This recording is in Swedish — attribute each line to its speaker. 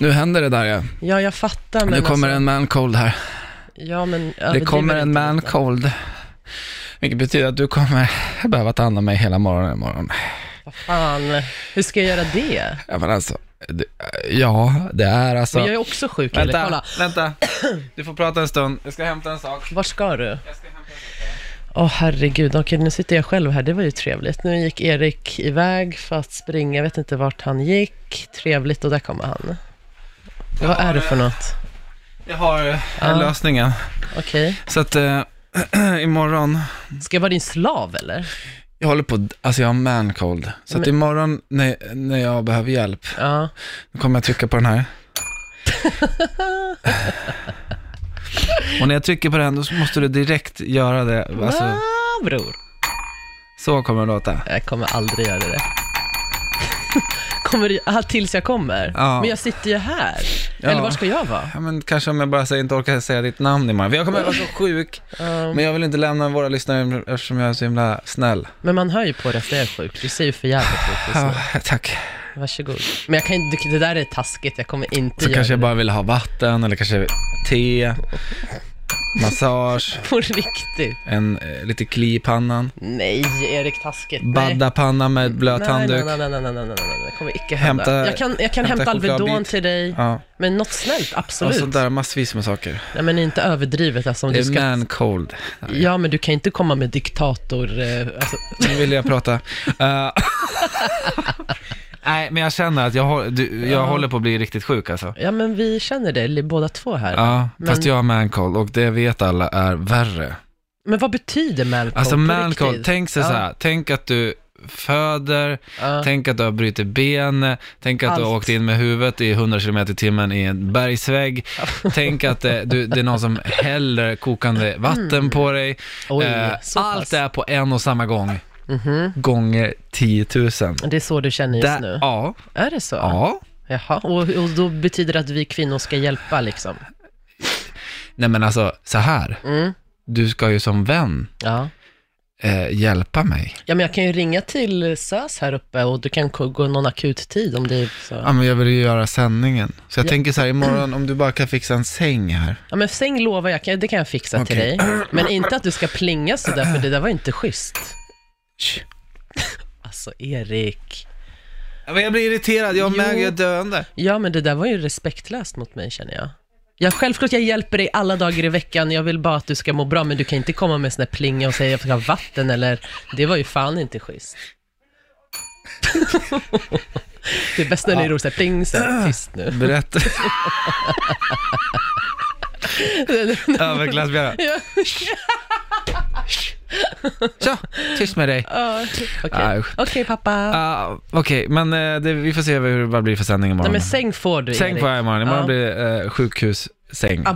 Speaker 1: Nu händer det där ja.
Speaker 2: Ja, jag fattar, men
Speaker 1: Nu kommer
Speaker 2: alltså,
Speaker 1: en man cold här.
Speaker 2: Ja, men
Speaker 1: Det
Speaker 2: överdriver
Speaker 1: kommer en
Speaker 2: inte
Speaker 1: man
Speaker 2: lite.
Speaker 1: cold. Vilket betyder att du kommer behöva ta hand om mig hela morgonen imorgon.
Speaker 2: Vad fan, hur ska jag göra det?
Speaker 1: Ja, men alltså, det, ja, det är alltså...
Speaker 2: Men jag är också sjuk, eller?
Speaker 1: Vänta,
Speaker 2: Kolla,
Speaker 1: vänta. Du får prata en stund. Jag ska hämta en sak.
Speaker 2: vart ska du?
Speaker 1: Jag ska hämta en sak.
Speaker 2: Åh herregud, okej nu sitter jag själv här, det var ju trevligt. Nu gick Erik iväg för att springa, jag vet inte vart han gick. Trevligt, och där kommer han. Vad är det för något?
Speaker 1: Jag har eh,
Speaker 2: Ja.
Speaker 1: lösningen.
Speaker 2: Okej.
Speaker 1: Så att eh, imorgon...
Speaker 2: Ska jag vara din slav eller?
Speaker 1: Jag håller på, alltså jag har man cold. Så att
Speaker 2: Men-
Speaker 1: imorgon när, när jag behöver hjälp,
Speaker 2: Ja.
Speaker 1: då kommer jag trycka på den här. Och när jag trycker på den, då måste du direkt göra det. Alltså,
Speaker 2: Ah, bror.
Speaker 1: så kommer det låta.
Speaker 2: Jag kommer aldrig göra det. kommer du, ah, tills jag kommer?
Speaker 1: Ja.
Speaker 2: Men jag sitter ju här.
Speaker 1: Ja.
Speaker 2: Eller var ska jag vara?
Speaker 1: Ja, men kanske om jag bara säger, inte orkar säga ditt namn imorgon. För jag kommer att vara så sjuk,
Speaker 2: Um,
Speaker 1: men jag vill inte lämna våra lyssnare eftersom jag är så himla snäll.
Speaker 2: men man hör ju på dig att jag är sjuk. Du ser ju för jävligt ut just
Speaker 1: Ja,
Speaker 2: nu.
Speaker 1: tack.
Speaker 2: Varsågod. Men jag kan inte, det där är taskigt. Jag kommer inte
Speaker 1: Så
Speaker 2: göra
Speaker 1: kanske jag
Speaker 2: det.
Speaker 1: bara vill ha vatten, eller kanske te, massage,
Speaker 2: På riktigt.
Speaker 1: en, eh, lite kli i pannan,
Speaker 2: Nej, Erik, taskigt. Nej.
Speaker 1: badda panna med blöt
Speaker 2: Nej,
Speaker 1: handduk.
Speaker 2: Nej, nej, nej, nej, nej, nej, nej, det kommer icke hända.
Speaker 1: Hämta-
Speaker 2: jag kan, jag kan
Speaker 1: hämta
Speaker 2: hämta
Speaker 1: chokladbit.
Speaker 2: Alvedon till dig,
Speaker 1: Ja,
Speaker 2: men något snällt,
Speaker 1: och
Speaker 2: absolut.
Speaker 1: sånt där, massvis med saker.
Speaker 2: Nej, men inte överdrivet. Alltså, om
Speaker 1: Det
Speaker 2: du
Speaker 1: är
Speaker 2: ska...
Speaker 1: man cold.
Speaker 2: Ja, men du kan inte komma med diktator... Eh, alltså,
Speaker 1: Nu vill jag prata. Eh, Nej, men jag känner att jag, hå- du, jag
Speaker 2: Ja.
Speaker 1: håller på att bli riktigt sjuk alltså.
Speaker 2: ja, men vi känner det, li- båda två här.
Speaker 1: Ja, fast
Speaker 2: Men-
Speaker 1: jag har man cold och det vet alla är värre.
Speaker 2: Men vad betyder mancold
Speaker 1: Alltså
Speaker 2: på
Speaker 1: man
Speaker 2: riktigt?
Speaker 1: cold, tänk sig
Speaker 2: Ja.
Speaker 1: så här, tänk att du föder,
Speaker 2: Ja.
Speaker 1: Tänk att du har brutit ben, tänk att du har
Speaker 2: Allt.
Speaker 1: åkt in med huvudet i 100 km i timmen i en bergsvägg, tänk att det, du, det är någon som häller kokande vatten på dig.
Speaker 2: Mm. Oj,
Speaker 1: Eh,
Speaker 2: så
Speaker 1: allt
Speaker 2: pass.
Speaker 1: är på en och samma gång,
Speaker 2: Mhm.
Speaker 1: gånger 10 000.
Speaker 2: Det är så du känner just
Speaker 1: Där-
Speaker 2: nu?
Speaker 1: ja,
Speaker 2: Är det så?
Speaker 1: ja.
Speaker 2: Jaha, och, och då betyder det att vi kvinnor ska hjälpa liksom?
Speaker 1: Nej men alltså, så här.
Speaker 2: Mm.
Speaker 1: Du ska ju som vän
Speaker 2: Ja.
Speaker 1: eh, hjälpa mig.
Speaker 2: ja, men jag kan ju ringa till SÖS här uppe och du kan k- gå någon akut tid om det är så.
Speaker 1: Ja, men jag vill ju göra sändningen. Så jag
Speaker 2: Ja.
Speaker 1: tänker så här, imorgon om du bara kan fixa en säng här.
Speaker 2: Ja, men säng lovar jag, kan- det kan jag fixa till
Speaker 1: Okej.
Speaker 2: dig. Men inte att du ska plinga sådär, för det där var inte schysst.
Speaker 1: Shh.
Speaker 2: Alltså, Erik.
Speaker 1: Ja, men Jag blir irriterad, jag
Speaker 2: Jo.
Speaker 1: märker jag är döende.
Speaker 2: Ja, men det där var ju respektlöst mot mig, känner jag. Ja, självklart, jag hjälper dig alla dagar i veckan. Jag vill bara att du ska må bra, men du kan inte komma med sån här plinga och säga jag ska ha vatten eller... Det var ju fan inte schysst. det är bäst när det är roligt såhär, pling, så här, tyst nu.
Speaker 1: Berätta. Överklassbjörn.
Speaker 2: Ja.
Speaker 1: Tja, tyst med dig.
Speaker 2: Ja, Okej,
Speaker 1: Aj.
Speaker 2: Okej, pappa.
Speaker 1: Ah, Okej, men eh, det, vi får se hur det bara blir för sändning imorgon.
Speaker 2: Nej, men säng får du,
Speaker 1: Säng
Speaker 2: Erik.
Speaker 1: får jag imorgon. Imorgon
Speaker 2: Ja.
Speaker 1: blir det eh, sjukhussäng.